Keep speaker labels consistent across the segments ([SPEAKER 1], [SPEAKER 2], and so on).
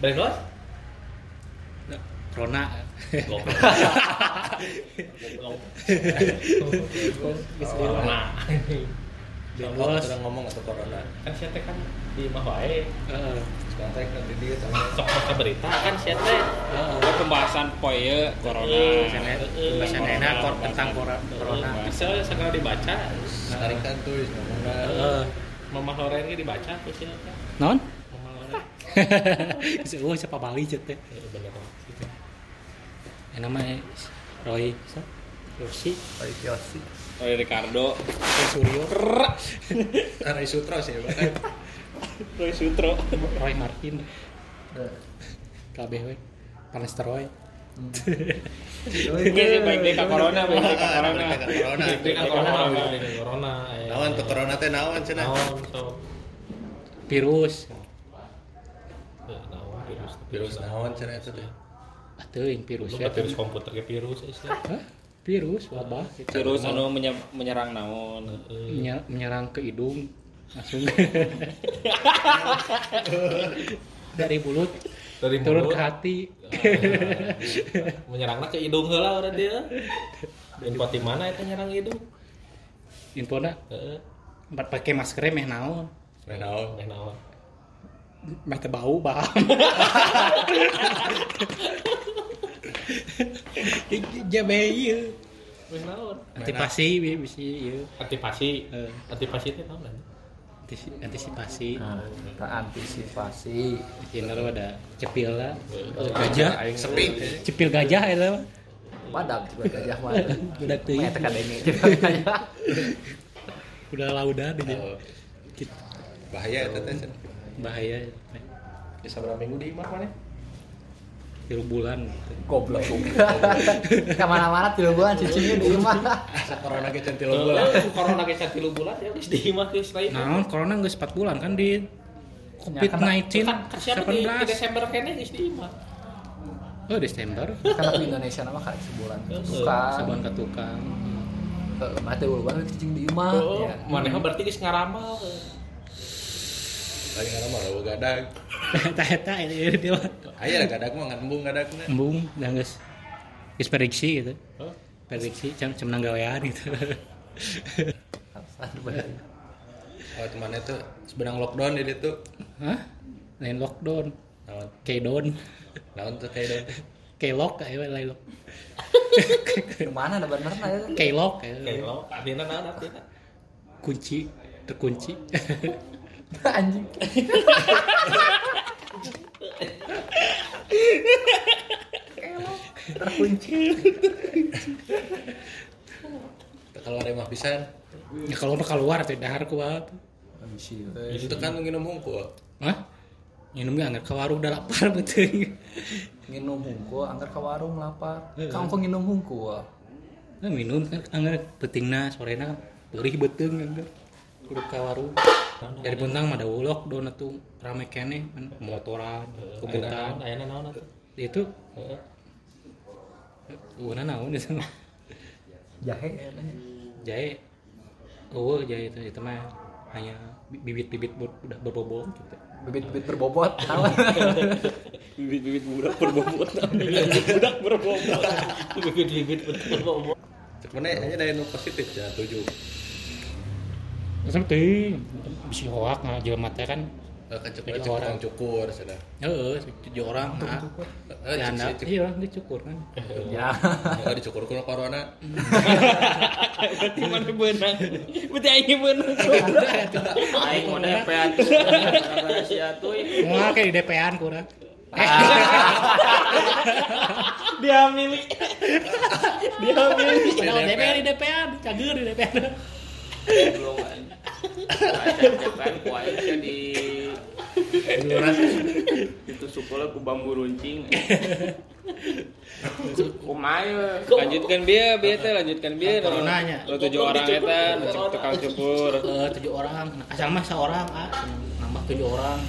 [SPEAKER 1] Balik lagi?
[SPEAKER 2] Rona
[SPEAKER 1] Goblok. Goblok. Corona.
[SPEAKER 2] Bos.
[SPEAKER 3] Orang ngomong atau
[SPEAKER 1] Eh,
[SPEAKER 3] corona.
[SPEAKER 1] Kan saya teh kan di mah wae.
[SPEAKER 2] Heeh.
[SPEAKER 3] Sekarang teh nanti dia sama
[SPEAKER 1] Sok sok berita kan saya teh.
[SPEAKER 2] Heeh.
[SPEAKER 4] Oh, pembahasan poe
[SPEAKER 1] Eh,
[SPEAKER 4] corona.
[SPEAKER 2] Misalnya,
[SPEAKER 1] eh,
[SPEAKER 2] pembahasan
[SPEAKER 1] corona,
[SPEAKER 2] enak kor-
[SPEAKER 1] pembahasan-
[SPEAKER 2] tentang kor- corona.
[SPEAKER 1] Eh, Bisa ya segala dibaca. eh,
[SPEAKER 3] tarikan tulis ngomong
[SPEAKER 2] Eh,
[SPEAKER 3] lah.
[SPEAKER 2] Heeh.
[SPEAKER 1] Mama Loren ge dibaca ku sia teh.
[SPEAKER 2] Non?
[SPEAKER 1] Mama Loren.
[SPEAKER 2] Seueuh siapa Bali cet teh.
[SPEAKER 1] Eh, Bener banget.
[SPEAKER 4] Oh,
[SPEAKER 2] Enak mah eh, Roy, sa? Yosi,
[SPEAKER 3] Dari Yosi.
[SPEAKER 4] Oleh iya, Ricardo,
[SPEAKER 2] Roy Suryo,
[SPEAKER 3] Dari Sutra sih, bahkan.
[SPEAKER 4] Roy Sutro.
[SPEAKER 2] Roy Martin, kabeh we. Panas teroy.
[SPEAKER 4] Oke sih baik-baik ke corona, baik-baik ke
[SPEAKER 3] Ah,
[SPEAKER 4] corona.
[SPEAKER 3] balik ke corona.
[SPEAKER 1] Dek
[SPEAKER 4] Baik-baik ke
[SPEAKER 1] kan corona,
[SPEAKER 4] corona.
[SPEAKER 1] dek corona. eh.
[SPEAKER 3] Naon tuh corona teh naon cenah?
[SPEAKER 1] Naon sok.
[SPEAKER 2] Virus.
[SPEAKER 1] Eh, Naon virus.
[SPEAKER 3] Virus naon cenah itu teh?
[SPEAKER 2] Atuh
[SPEAKER 1] Lu
[SPEAKER 2] virus ya.
[SPEAKER 1] kan virus komputer ke virus eh, sia.
[SPEAKER 2] Hah? Virus wabah gitu.
[SPEAKER 4] Terus anu menye- menyerang naon?
[SPEAKER 1] Eh,
[SPEAKER 2] Menyer- menyerang ke hidung langsung dari mulut
[SPEAKER 1] Dari
[SPEAKER 2] turun
[SPEAKER 1] mulut.
[SPEAKER 2] ke hati
[SPEAKER 1] menyerangnya ke hidung heula urang dia. Dan pati mana itu nyerang hidung?
[SPEAKER 2] infona
[SPEAKER 1] Heeh.
[SPEAKER 2] bat pakai masker meh naon
[SPEAKER 3] Meh naon?
[SPEAKER 1] Meh naon?
[SPEAKER 2] meh teu bau bah ya meh ieu
[SPEAKER 1] Meh naon?
[SPEAKER 2] antisipasi bi- iya. bisi ieu
[SPEAKER 1] Antipasi.
[SPEAKER 2] Eh.
[SPEAKER 1] Antipasi itu naon? anjing?
[SPEAKER 2] Antisi- antisipasi
[SPEAKER 5] Ah, antisipasi
[SPEAKER 2] Cina lo ada cepil lah
[SPEAKER 1] Eh,
[SPEAKER 2] gajah
[SPEAKER 3] Sepi.
[SPEAKER 2] cepil gajah ya lah
[SPEAKER 5] padam juga gajah mah
[SPEAKER 2] Budak teuing.
[SPEAKER 5] Maya teh kadenge Budak gajah
[SPEAKER 2] udah laudan aja Gitu.
[SPEAKER 3] Bahaya itu teh. cenah.
[SPEAKER 2] bahaya
[SPEAKER 3] Di sabar minggu di imah mana?
[SPEAKER 2] tiru bulan gitu.
[SPEAKER 5] goblok kemana-mana tiga bulan cicinya di rumah
[SPEAKER 3] Asa corona ge centil
[SPEAKER 1] Eh, Corona ge satilu bulan ya geus di imah geus lain.
[SPEAKER 2] Nah, corona nggak 4 bulan kan di COVID-19
[SPEAKER 1] Kan kan siapa di, di
[SPEAKER 2] 18.
[SPEAKER 1] Desember kene geus di imah.
[SPEAKER 2] Oh, Desember.
[SPEAKER 5] karena di Indonesia nama kali sebulan
[SPEAKER 2] Sabuan
[SPEAKER 1] Ah.
[SPEAKER 5] bukan
[SPEAKER 2] ke tukang.
[SPEAKER 5] mati bulan cicing di
[SPEAKER 2] Ah,
[SPEAKER 5] rumah
[SPEAKER 1] Oh,
[SPEAKER 2] iya.
[SPEAKER 5] ya.
[SPEAKER 1] maneha berarti geus ngaramal.
[SPEAKER 3] Lagi ngaran mah rawa gadag.
[SPEAKER 2] Eta-eta ini dia mah.
[SPEAKER 3] Aya lah gadag mah ngambung gadagna.
[SPEAKER 2] Embung, dan guys. Guys prediksi gitu.
[SPEAKER 1] Hah?
[SPEAKER 2] Prediksi jam jam nang gawean gitu.
[SPEAKER 5] Aduh, bahaya.
[SPEAKER 3] Oh teman itu sebenang lockdown di ditu.
[SPEAKER 2] Hah? Lain lockdown.
[SPEAKER 3] Naon?
[SPEAKER 2] Kaydon.
[SPEAKER 3] Naon tuh kayak daun?
[SPEAKER 2] Kaylok ayo eh, lain lock.
[SPEAKER 5] kemana ada bener nah ya
[SPEAKER 2] Kaylok
[SPEAKER 1] Kayak
[SPEAKER 2] ayo.
[SPEAKER 1] lo, artinya naon artinya?
[SPEAKER 2] eh. Kunci terkunci.
[SPEAKER 5] anjing
[SPEAKER 3] Kalau ada mah pisan.
[SPEAKER 2] ya kalau mah keluar teh dahar ku apa.
[SPEAKER 5] Anjing.
[SPEAKER 3] Itu kan nginum hungkul.
[SPEAKER 2] Hah? Minum gak nggak ke warung udah lapar betul.
[SPEAKER 5] nginum hungkul angker ke warung lapar kamu kok nginum hungkul
[SPEAKER 2] Nah, minum kan anggar petingna sorena kan, beri beteng anggar kan kudu ka warung dari Puntang mah ada ulok dona tuh rame kene kan, motoran
[SPEAKER 1] Kebutaan,
[SPEAKER 2] kebutan
[SPEAKER 1] ayana naon atuh?
[SPEAKER 2] itu
[SPEAKER 1] Heeh.
[SPEAKER 2] uana naon ya, itu
[SPEAKER 5] jahe kayaknya
[SPEAKER 2] jahe oh jahe itu itu mah hanya bibit-bibit ber- udah berbobot gitu
[SPEAKER 5] bibit-bibit berbobot tahu
[SPEAKER 4] Bibit-bibit budak berbobot. Budak berbobot.
[SPEAKER 1] Bibit-bibit betul bobo.
[SPEAKER 3] Cek mana hanya dari nu positif ya tujuh.
[SPEAKER 2] terus teh bisi hoak nah jelema teh kan
[SPEAKER 3] Eh, Kan cek
[SPEAKER 2] Jadi
[SPEAKER 3] mana cek
[SPEAKER 2] orang.
[SPEAKER 3] tukang cukur sudah.
[SPEAKER 2] heeh tujuh orang nah
[SPEAKER 3] Eh,
[SPEAKER 2] ya
[SPEAKER 3] cek
[SPEAKER 2] anak
[SPEAKER 3] si- cek-
[SPEAKER 2] iya orang dicukur kan
[SPEAKER 5] ya
[SPEAKER 3] Oh, dicukur kuno corona.
[SPEAKER 4] Berarti mana benang? Berarti aing benang.
[SPEAKER 1] Aing mau nepean. Sia tuh.
[SPEAKER 2] nggak kayak di DP-an kurang
[SPEAKER 4] Dia milik. Dia milik.
[SPEAKER 2] Padahal DP di DP-an, cager di DP-an.
[SPEAKER 6] belum kan kan kuai jadi itu sukola ku bambu runcing kumaya
[SPEAKER 4] Lanjutkan dia, dia teh lanjutkan dia.
[SPEAKER 1] Kan
[SPEAKER 2] Coronanya.
[SPEAKER 4] Lo tujuh orang eta nu tukang cukur.
[SPEAKER 2] Eh, tujuh orang, Nah, asal mah seorang, ah, nambah tujuh orang.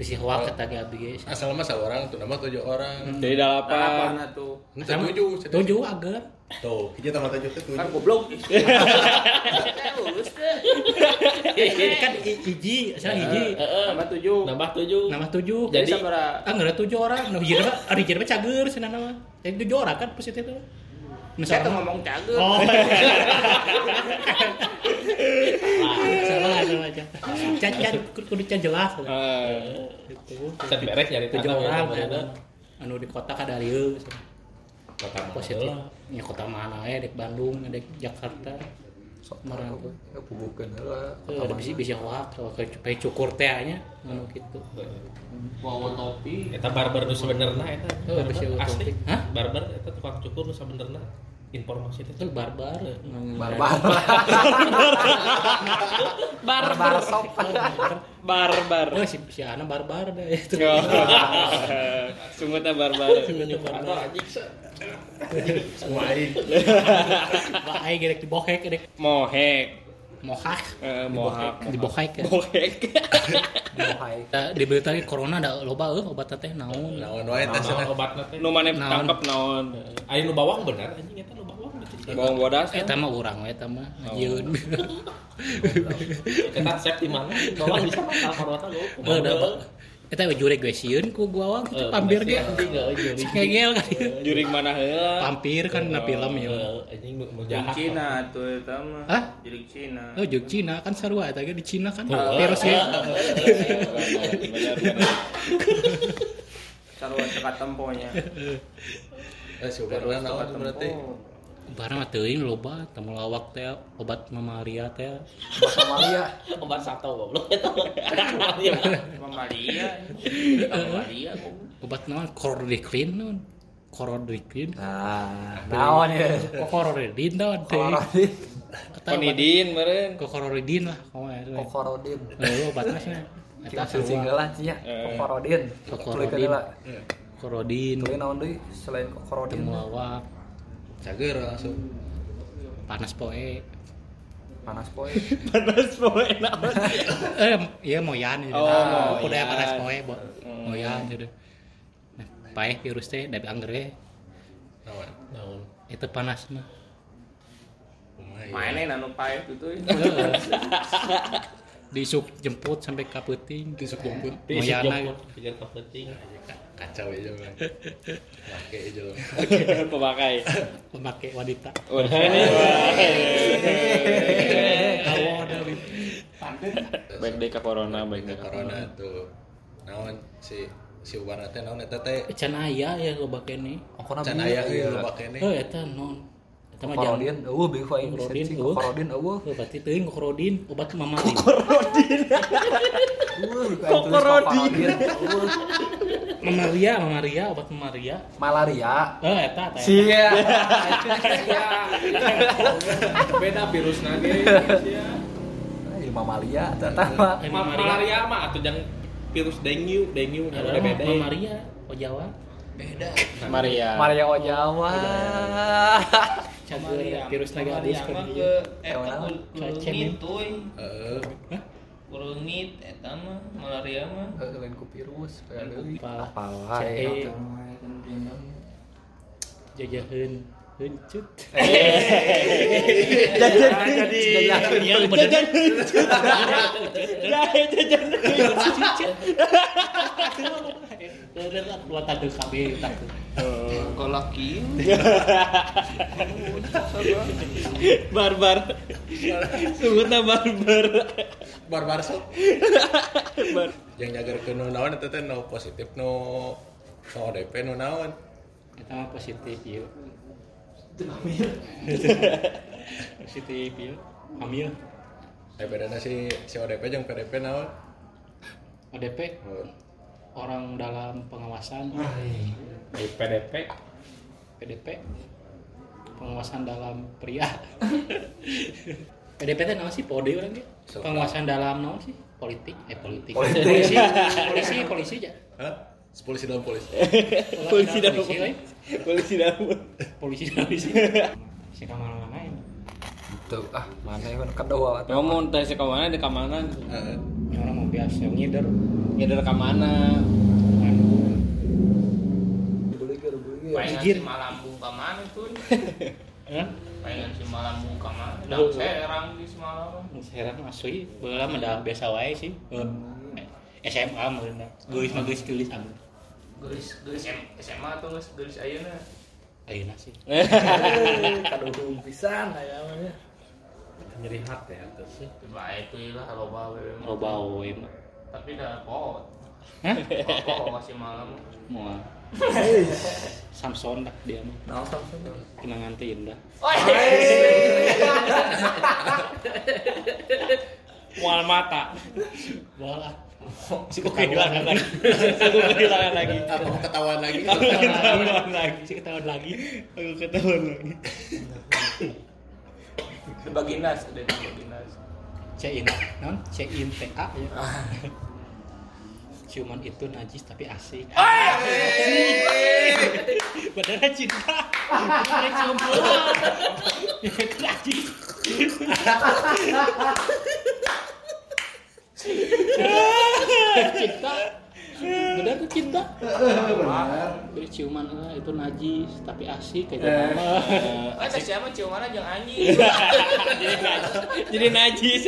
[SPEAKER 2] Bisi hoak kata ge abdi ge.
[SPEAKER 3] Asal mah orang tuh nama tujuh orang.
[SPEAKER 4] Jadi dalapan.
[SPEAKER 6] apa tuh
[SPEAKER 2] Asal mah-
[SPEAKER 3] Tujuh, tujuh.
[SPEAKER 2] tujuh agar.
[SPEAKER 3] Tuh, hiji tambah tujuh itu
[SPEAKER 6] kan
[SPEAKER 3] tujuh.
[SPEAKER 6] goblok terus deh
[SPEAKER 2] kan i- hiji, sekarang hiji.
[SPEAKER 6] Tambah tujuh.
[SPEAKER 1] nambah tujuh
[SPEAKER 2] Nambah tujuh.
[SPEAKER 6] Jadi
[SPEAKER 2] Jadi
[SPEAKER 6] sabaraha?
[SPEAKER 2] ah nggak ada tujuh orang. Nah hiji mah, ah hiji mah cager cenah mah. Jadi tujuh orang kan positif itu.
[SPEAKER 6] Saya tuh
[SPEAKER 2] Misalnya
[SPEAKER 6] ngomong cager.
[SPEAKER 2] Oh. Salah salah aja. Cacat kudu can jelas. Gitu.
[SPEAKER 1] set beres nyari
[SPEAKER 2] Tujuh
[SPEAKER 1] tangan,
[SPEAKER 2] orang
[SPEAKER 1] ya,
[SPEAKER 2] ada. Anu di kota kada dieu.
[SPEAKER 1] kata
[SPEAKER 2] Positif.
[SPEAKER 1] positif
[SPEAKER 2] Ya kota mana ya, dek Bandung, dek Jakarta.
[SPEAKER 5] Sok
[SPEAKER 2] Marah.
[SPEAKER 5] marah Ya, gue. Bubukeun heula.
[SPEAKER 2] Eh, ada bisa bisa wak, kalau kayak cukur teh nya, anu gitu.
[SPEAKER 6] Bawa topi.
[SPEAKER 1] eta barber nu sebenarnya eta
[SPEAKER 2] Oh,
[SPEAKER 1] barber
[SPEAKER 2] bisa gua
[SPEAKER 1] asli
[SPEAKER 2] konflik. Hah?
[SPEAKER 1] barber eta tukang cukur nu sebenarnya informasi itu
[SPEAKER 2] Itu barbar.
[SPEAKER 5] Barbar. Barbar
[SPEAKER 4] Barbar.
[SPEAKER 5] sok.
[SPEAKER 4] Barbar.
[SPEAKER 2] Oh, si, si Ana barbar deh. Itu.
[SPEAKER 4] Sungguhnya barbar.
[SPEAKER 2] Sebenarnya
[SPEAKER 6] Atau
[SPEAKER 2] barbar.
[SPEAKER 6] anjing se.
[SPEAKER 2] Baik, gerek dibokek, gerek
[SPEAKER 4] Mohek.
[SPEAKER 2] mohak.
[SPEAKER 4] Eh, mohak.
[SPEAKER 2] Dibokek ya.
[SPEAKER 4] Mohek.
[SPEAKER 5] Mohai.
[SPEAKER 2] Ya, di berita lagi Eh, corona ada loba eueuh obat teh naon.
[SPEAKER 3] Naon wae
[SPEAKER 1] Nah,
[SPEAKER 3] teh cenah.
[SPEAKER 1] obatna teh
[SPEAKER 4] Nu mana
[SPEAKER 2] Naon?
[SPEAKER 4] tangkap naon.
[SPEAKER 1] Ayo nu bawang benar anjing eta nu bawang gitu.
[SPEAKER 4] Bawang bodas.
[SPEAKER 2] Eta mah Eh, urang we eta mah ngieun.
[SPEAKER 1] Eta sep di mana? Bawang bisa makan korota gua.
[SPEAKER 2] Meuh da apa? Eta we jure eh, gue sieun ku gua awal
[SPEAKER 1] Eh,
[SPEAKER 2] pampir ge.
[SPEAKER 1] anjing, eh, juri.
[SPEAKER 2] Ngegel kan.
[SPEAKER 4] Juring mana heula.
[SPEAKER 2] Pampir kan na film ya.
[SPEAKER 1] Eh, Anjing nu nu
[SPEAKER 6] Jeung
[SPEAKER 1] jahat.
[SPEAKER 6] Cina
[SPEAKER 4] eh,
[SPEAKER 6] tuh eta mah.
[SPEAKER 2] Hah?
[SPEAKER 6] Jeung Cina.
[SPEAKER 2] Oh, jeung Cina kan sarua eta ge di Cina kan
[SPEAKER 1] Oh,
[SPEAKER 2] virus ge.
[SPEAKER 6] Sarua cekat temponya.
[SPEAKER 3] Eh, si Ubarna naon tuh berarti?
[SPEAKER 2] Barang mah teuing loba temu lawak teh obat mamalia teh.
[SPEAKER 5] Bahasa Maria.
[SPEAKER 1] Obat sato goblok eta. Mamalia.
[SPEAKER 6] Mamalia. Mamalia. kok.
[SPEAKER 2] Obat naon? Chlordecrin naon? Chlordecrin.
[SPEAKER 5] Nah, naon ya?
[SPEAKER 2] Chlordecrin naon teh.
[SPEAKER 5] Kokorodin.
[SPEAKER 2] Eta obat-
[SPEAKER 4] Konidin meureun.
[SPEAKER 2] Chlordecrin lah eh. kowe.
[SPEAKER 5] Kokorodin.
[SPEAKER 2] Lalu obatnya sih. Eta
[SPEAKER 5] Kita singgalan sih ya. Kokorodin.
[SPEAKER 2] Kokorodin.
[SPEAKER 5] Tuluy keula.
[SPEAKER 2] Korodin,
[SPEAKER 5] Tuluy naon deui selain kokorodin?
[SPEAKER 2] temulawak,
[SPEAKER 3] Cager langsung.
[SPEAKER 2] panas poe.
[SPEAKER 5] Panas poe.
[SPEAKER 4] Panas poe naon.
[SPEAKER 2] Eh, iya moyan gitu.
[SPEAKER 4] Oh, moyan. Hmm.
[SPEAKER 2] Kudu aya panas poe, bo. Moyan gitu. Nah, pae virus teh dari angger ge.
[SPEAKER 3] Naon?
[SPEAKER 1] Naon?
[SPEAKER 2] Itu panas mah.
[SPEAKER 3] Kumaha ya?
[SPEAKER 6] Mainnya nanu pae tuh tuh.
[SPEAKER 2] Heeh. Disuk jemput sampai ka peuting.
[SPEAKER 3] Tusuk jemput.
[SPEAKER 1] Pisik
[SPEAKER 2] Moyana.
[SPEAKER 1] jemput, pijar kepenting.
[SPEAKER 3] Kacau aja mah. Make aja lah.
[SPEAKER 4] Pemakai.
[SPEAKER 2] Pemake wanita.
[SPEAKER 6] Baik deh ke corona, baik
[SPEAKER 3] Ke corona tuh. Naon si si Ubarna teh naon eta teh?
[SPEAKER 2] Can aya ya loba kene.
[SPEAKER 5] Angkona
[SPEAKER 3] Can
[SPEAKER 5] bieu.
[SPEAKER 3] aya ge loba kene.
[SPEAKER 2] Eh, eta non. Eta mah jangan.
[SPEAKER 5] Kokorodin. Eueuh bieu aing
[SPEAKER 2] Kokorodin,
[SPEAKER 5] searching
[SPEAKER 2] eueuh.
[SPEAKER 5] kokorodin eueuh.
[SPEAKER 2] Oh, berarti teuing kokorodin, obat mamalia.
[SPEAKER 5] Eueuh bieu aing tulis
[SPEAKER 4] Kokorodin.
[SPEAKER 5] Eueuh.
[SPEAKER 2] Mamalia, mamalia, obat mamalia.
[SPEAKER 5] Malaria.
[SPEAKER 2] Eh, eta eta.
[SPEAKER 5] Sia.
[SPEAKER 1] Beda virus nage.
[SPEAKER 5] Ay, mamalia tetap
[SPEAKER 2] Eh, mamalia.
[SPEAKER 1] Malaria mah atuh jang virus dengue, dengue nya
[SPEAKER 2] Ada
[SPEAKER 1] beda.
[SPEAKER 2] mamalia, oh Jawa.
[SPEAKER 4] Maria.
[SPEAKER 5] Maria Ojawa.
[SPEAKER 2] Mamalia, virus naga abis kan
[SPEAKER 7] mah
[SPEAKER 2] dia.
[SPEAKER 7] ke eta
[SPEAKER 5] Tahu
[SPEAKER 7] kul-
[SPEAKER 2] naon?
[SPEAKER 7] kulungit tuy
[SPEAKER 3] Heeh.
[SPEAKER 7] kulungit eta mah malaria mah
[SPEAKER 5] Lain ku virus.
[SPEAKER 2] Apa?
[SPEAKER 5] Apalah.
[SPEAKER 2] Cai.
[SPEAKER 5] eta.
[SPEAKER 2] Jajaheun, heuncit.
[SPEAKER 4] Jadi
[SPEAKER 2] Iya, bener. Bener, dua tanggung kabeh, tanggung.
[SPEAKER 7] kolak kieu
[SPEAKER 4] barbar. Sebutna barbar.
[SPEAKER 3] Barbar sok. Yang jager ke nu naon eta teh no positif no no DP nu naon.
[SPEAKER 2] Eta mah positif ieu. Positif ieu. Hamil.
[SPEAKER 3] Eh bedana si si ODP jeung PDP naon?
[SPEAKER 2] ODP orang dalam pengawasan
[SPEAKER 1] Di PDP
[SPEAKER 2] PDP pengawasan dalam pria PDP itu nama sih pode orang dia
[SPEAKER 3] Suka.
[SPEAKER 2] pengawasan dalam nama sih politik eh politik
[SPEAKER 5] Politik.
[SPEAKER 2] polisi polisi polisi aja
[SPEAKER 3] Hah? Polisi dalam polisi.
[SPEAKER 4] Polisi
[SPEAKER 2] dalam
[SPEAKER 4] dalam.
[SPEAKER 2] polisi we.
[SPEAKER 4] Polisi dalam.
[SPEAKER 2] polisi dalam polisi si kamar mana ya
[SPEAKER 5] Tuh ah mana yang kedua atau
[SPEAKER 4] Ngomong teh si kamana di kamana.
[SPEAKER 3] Heeh.
[SPEAKER 2] Ya, orang mau biasa ngider
[SPEAKER 4] Nyadar kamana.
[SPEAKER 5] beli ge beli ge.
[SPEAKER 6] Mainan si
[SPEAKER 2] Jijir.
[SPEAKER 6] malambung ka mana tuh?
[SPEAKER 2] Eh?
[SPEAKER 7] pengen si malam muka mah Dang
[SPEAKER 2] Tahu.
[SPEAKER 7] serang di semalam
[SPEAKER 2] Serang asli, beulah mah dah biasa wae sih. Eh, SMA meureun dah. Geulis mah geulis tulis amun.
[SPEAKER 7] gelis gelis M SMA atau gelis gelis ayeuna
[SPEAKER 2] Ayeuna sih.
[SPEAKER 5] Kaduhung pisan aya mah ya.
[SPEAKER 1] nyeri hati ya tuh sih
[SPEAKER 7] coba itu lah loba we mah.
[SPEAKER 2] Loba wae mah.
[SPEAKER 7] tapi dah pot
[SPEAKER 2] Hah?
[SPEAKER 7] kok masih malam
[SPEAKER 2] Moal. Samson dah dia mah.
[SPEAKER 5] Naon Samsung?
[SPEAKER 2] Kenangan teh indah.
[SPEAKER 4] mual mata
[SPEAKER 2] Moal ah. Si kok kehilangan lagi. Aku kehilangan lagi.
[SPEAKER 3] Apa Ah, ketahuan lagi?
[SPEAKER 2] Aku ketahuan lagi. Si ketahuan lagi. Aku ketahuan lagi.
[SPEAKER 7] bagi nas ada di bagi nas
[SPEAKER 2] Cein. Non, cein TA ya. Ciuman itu najis tapi asik. Beneran cinta. Beneran cium pulang. Najis. cinta. Bener tuh cinta. Jadi ciuman eh, itu najis tapi asik kayak gitu.
[SPEAKER 7] ah teh siapa ciuman aja anjing
[SPEAKER 4] jadi najis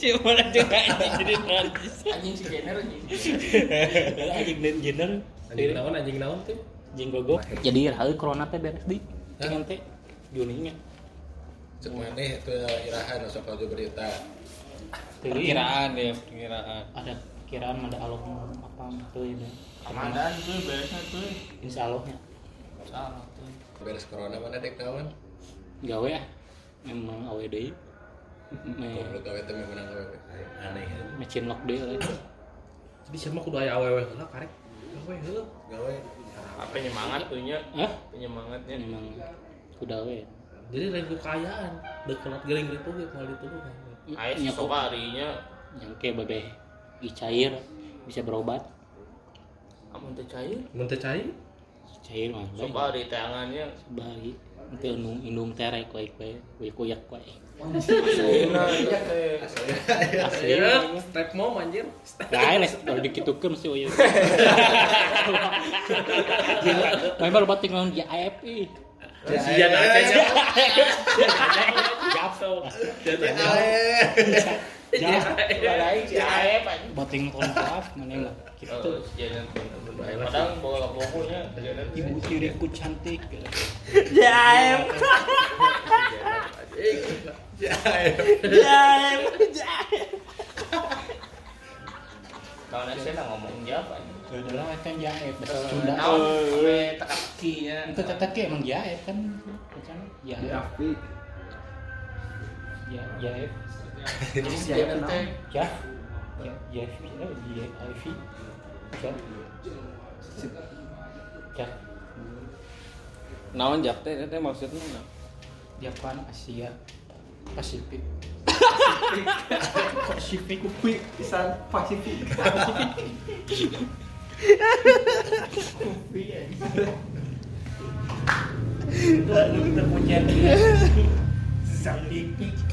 [SPEAKER 4] cuma aja najis jadi najis
[SPEAKER 7] anjing si gener anjing si gener.
[SPEAKER 2] anjing dan jenner
[SPEAKER 1] anjing naon anjing naon tuh
[SPEAKER 2] anjing gogo jadi hal corona teh beres di dengan teh Juni nya
[SPEAKER 3] Cek mana itu irahan sok kalau berita.
[SPEAKER 2] Teuing.
[SPEAKER 4] perkiraan ya perkiraan
[SPEAKER 2] ada kiraan ada Allah apa tuh ini
[SPEAKER 7] Ramadan tuh beresnya tuh
[SPEAKER 2] insya Allahnya
[SPEAKER 7] salah tuh
[SPEAKER 3] Beres corona mana dek naon?
[SPEAKER 2] gawe ah memang awe deui me
[SPEAKER 3] Goblok gawe teh meunang gawe.
[SPEAKER 1] aneh
[SPEAKER 2] mecin lock deui lah
[SPEAKER 1] jadi siapa kudu aya awewe heula karek awewe heula
[SPEAKER 3] Gawe
[SPEAKER 7] apa nyemangat tuh nya
[SPEAKER 2] Hah?
[SPEAKER 7] penyemangatnya
[SPEAKER 2] memang kuda we
[SPEAKER 1] jadi lain kekayaan dekelat gering gitu gue malah ditunggu kan
[SPEAKER 7] Aya si sobarinya
[SPEAKER 2] nyangke babeh dicair bisa berobat
[SPEAKER 7] amun teu cair
[SPEAKER 1] mentecai
[SPEAKER 2] cair mah baik.
[SPEAKER 7] sobari teh angannya
[SPEAKER 2] bari teu indung indung terek koe koe koe koyak koe asli
[SPEAKER 1] strap mom anjir
[SPEAKER 2] Nah, les kalau dikitukeun mesti oye. Gila, memang obat tinggal di AFI.
[SPEAKER 1] sia na kayaknya
[SPEAKER 2] Japso.
[SPEAKER 7] lain si aep anjing
[SPEAKER 2] Bating tahun maaf, mana lah. Gitu.
[SPEAKER 7] Oh, jajanan pun. Padahal bawa bobonya jajanan.
[SPEAKER 2] Ibu tiriku cantik. gitu.
[SPEAKER 4] jaim jaim
[SPEAKER 7] Tahun ini saya ngomong Jawa.
[SPEAKER 2] Dalam kan jaep, bahasa Sunda.
[SPEAKER 7] Tahun sampai tekak kinya.
[SPEAKER 2] Itu teteki emang jaep kan. Macam jaep. Ya, jaep.
[SPEAKER 7] Jadi si jajanan teh
[SPEAKER 2] Ya. Ya, jaep. Ya, jaep. Ya. Ya.
[SPEAKER 4] naon jap teh teh maksudnya naon?
[SPEAKER 2] Japan, Asia, Pasifik. Pasifik kuwi
[SPEAKER 5] Pisan Pasifik.
[SPEAKER 2] itu lu kita punya Pasifik.